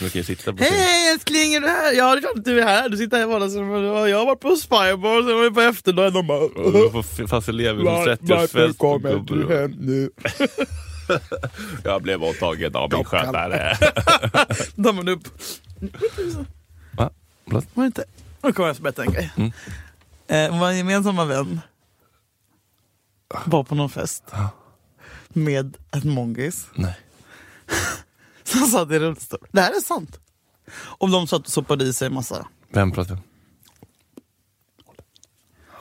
Nu kan ju sitta på sin... Hej älskling, är du här? Ja det är klart att du är här. Du sitter här i vardagsrummet. Ja, Jag har varit på Spybar, sen var vi på efterdagen. De bara... Du får f- fast elever som "Var- 30-årsfest. Varför och kommer du gubbor. hem nu? Jag blev våldtagen av min skötare. Då man upp. Va? Förlåt? Var det inte? Nu kommer jag att berätta en grej. Mm. Eh, vår gemensamma vän var på någon fest. med en mongis Nej. som satt i rullstol. Det här är sant. Och de satt och sopade i sig massa. Vem pratar jag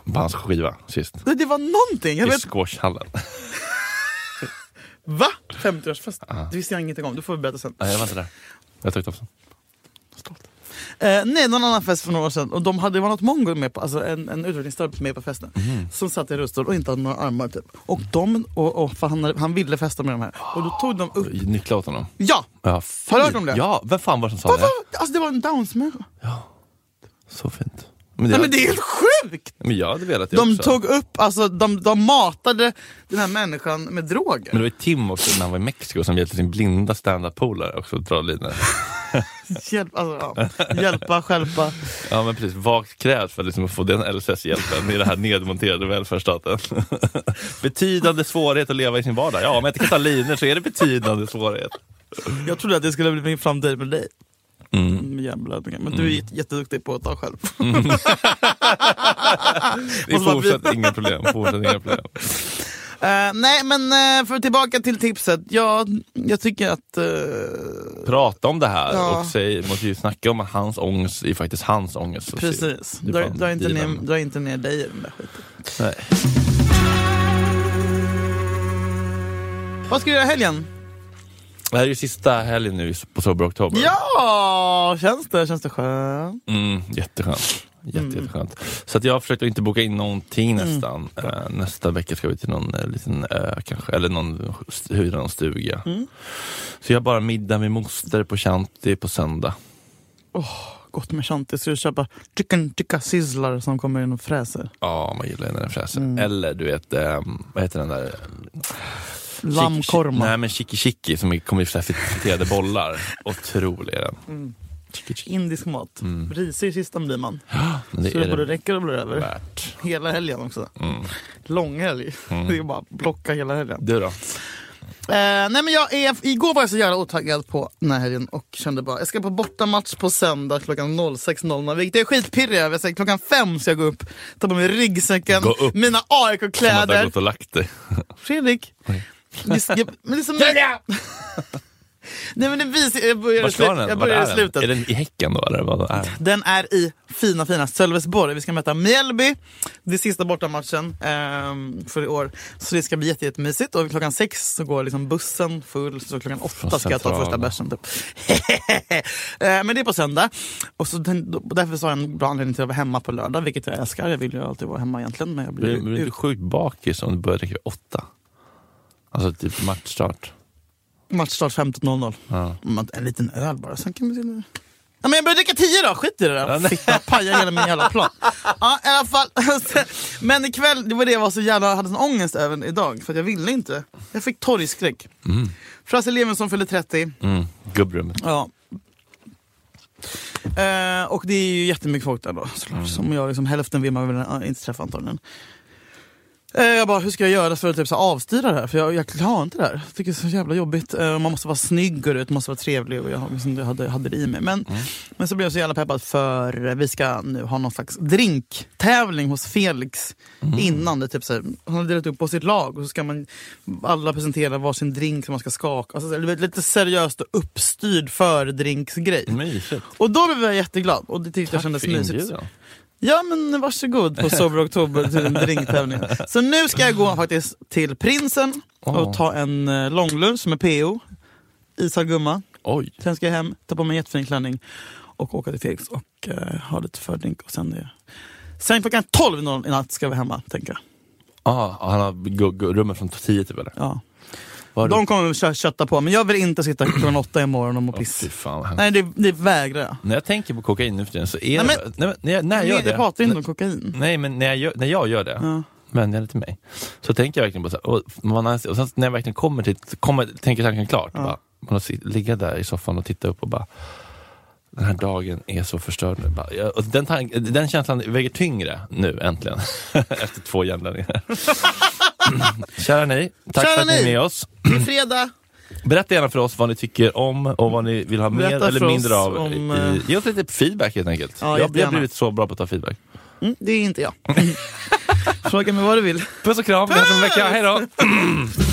om? På hans skiva sist. Det, det var någonting! Jag I vet, squashhallen. va? 50-årsfest? Det visste jag ingenting om. Du får vi berätta sen. Nej, Ah. jag var inte där. Jag tyckte också. Stolt. Eh, nej, någon annan fest för några år sedan. Och de hade, det var något mongo med på, alltså en, en utvecklingsstörd med på festen. Mhm. Som satt i rullstol och inte hade några armar typ. Och de, och, och, för han, han ville festa med de här. Och då tog de upp, Nyckla åt honom. ja! Ja, Har du hört om det? Ja, vem fan var det som sa Vad det? var- Alltså det var en downs-människa. Så fint. Men Nej jag, men det är helt sjukt! men jag hade velat det De också. tog upp, alltså de, de matade den här människan med droger. Men det var ju Tim också när han var i Mexiko som hjälpte sin blinda standup-polare också att dra linor. Hjälp, alltså, ja. Hjälpa, stjälpa. Ja men precis, vad krävs för att liksom få den LSS-hjälpen i den här nedmonterade välfärdsstaten? betydande svårighet att leva i sin vardag. Ja, om jag inte kan ta linor så är det betydande svårighet. Jag trodde att det skulle bli min framtid med dig. Mm. Med hjärnblödningar. Men du är jätte- jätteduktig på att ta själv. Det är Och så bara fortsatt inga problem. Fortsatt inga problem. Eh, nej men eh, för tillbaka till tipset. Ja, jag tycker att... eh, Prata om det här Ja. och säg, måste ju snacka om att hans ångest är faktiskt hans ångest. Och se- precis. det är Dra, fan dra, inte ner, dealen. dra inte ner dig i den där skiten. Nej. Vad ska du göra i helgen? Det här är ju sista helgen nu på Sober Oktober. Ja, känns det? Känns det skönt? Mm, jätteskönt. Jätte, Jätteskönt. Mm. Så att jag har försökt att inte boka in någonting nästan. Eh, nästa vecka ska vi till någon eh, liten ö kanske, eller någon, st- hyra någon stuga. Mm. Så jag har bara middag med moster på Shanti på söndag. Gott med shanti. Ska du köpa chicken tikka sizzlar som kommer in och fräser? Ja, man gillar ju när den fräser. Mm. Eller du vet, eh, vad heter den där? Chiki- Lammkorma. Nej men chiki chiki som är- kommer i så här friterade bollar. Otrolig är den. Mm. Chiki chiki. Mm. Indisk mat. Risig i kistan blir man. Men det Så är det det både räcker och blir över. värt. Hela helgen också. Mm. Lång helg. Det är bara att blocka hela helgen. Du då? Eh, nej men jag är, igår var jag så jävla otaggad på den här helgen och kände bara jag ska på bortamatch på söndag klockan 06.00 vilket jag är skitpirrig över. Så Klockan fem ska jag gå upp, ta på mig ryggsäcken, Gå upp. mina Som att du har AIK-kläder. gått och lagt dig. Fredrik! Oj. Vi ska- Men det är som... Nej men det visar, jag börjar, Var i ska slut, den? jag Var börjar i är den? slutet. Är den i Häcken då eller? Vad är den? Den är i fina, fina Sölvesborg. Vi ska möta Mjällby. Det är sista bortamatchen ehm, för i år. Så det ska bli jätte, jättemysigt. Och klockan sex så går liksom bussen full. Så klockan åtta ska jag ta centralen. första bärsen. Typ. Eh, Men det är på söndag. Och så den, då- därför sa jag en bra anledning till att vara hemma på lördag, vilket jag älskar. Jag vill ju alltid vara hemma egentligen. Men jag blir Blir, blir du ut- inte sjukt bakis om du börjar dricka vid åtta? Alltså typ matchstart. matchstart 15.00. Ja. Mm, En liten öl bara, sen kan vi till... Ja, men jag börjar dricka tio då, skit i det Ja, där. nej. Fitta pajar hela min jävla plan. Ja, i alla fall. Men ikväll, det var det jag var så jävla, hade sån ångest även idag. För att jag ville inte. Jag fick torgskräck. Mm. Frasse Levinson fyllde 30. Mm. Gubbrummet. Ja. Eh, och det är ju jättemycket folk där då såklart. Som jag liksom, hälften vill man väl eh, inte träffa antagligen. Eh, jag bara, hur ska jag göra för att typ, så här avstyra det här? För jag, jag klarar inte det här. Jag tycker det är så jävla jobbigt. Eh, man måste vara snygg och det måste vara trevlig och jag har liksom, jag hade, hade det i mig. Men, men så blev jag så jävla peppad för eh, vi ska nu ha någon slags drinktävling hos Felix innan. Det, typ, så här, han har delat upp på sitt lag och så ska man alla presentera varsin drink som man ska skaka. Alltså, så här, du vet, lite seriöst och uppstyrd fördrinksgrej. Mm. Mysigt. Och då blev jag jätteglad och det tyckte jag kändes mysigt. Ja men varsågod på Sober Oktober till en drinktävling. Så nu ska jag gå faktiskt till Prinsen Åh. och ta en eh, långlunch med PO, Isar Gumma. Oj. Sen ska jag hem, ta på mig en jättefin klänning och åka till Felix och eh, ha lite fördrink. Och sen, det. sen klockan 12 i natt ska vi hemma, tänker jag. Ah, han har gu- gu- rummet från 10 typ eller? Ja. Var De kommer kö- kötta på, men jag vill inte sitta klockan 8 imorgon och må piss. Fy fan vad hemskt. Nej, det, det vägrar jag. När jag tänker på kokain nu för tiden så är Nej, det... Nej, men, när jag, när jag gör Jag det. pratar inte om kokain. Nej men när jag gör, när jag gör det, Ja. vänligare till mig, så tänker jag verkligen på så här, och, man har, och sen när jag verkligen kommer till, kommer, tänker tanken klart, bara, man har sitt, ligga där i soffan och titta upp och bara den här dagen är så förstörd nu. Bara, jag, och den, tank, den känslan väger tyngre nu äntligen, efter två hjärnblödningar. Kära ni, tack Kära för att ni är ni. med oss. Det är fredag. Berätta gärna för oss vad ni tycker om och vad ni vill ha mer Berätta för eller mindre oss av. om, i- eh, i, ge oss lite feedback helt enkelt. Ja, jag, jag har jättegärna. blivit så bra på att ta feedback. Mm, det är inte jag. Fråga mig vad du vill. Puss och kram, vi hörs om en vecka. Hej då!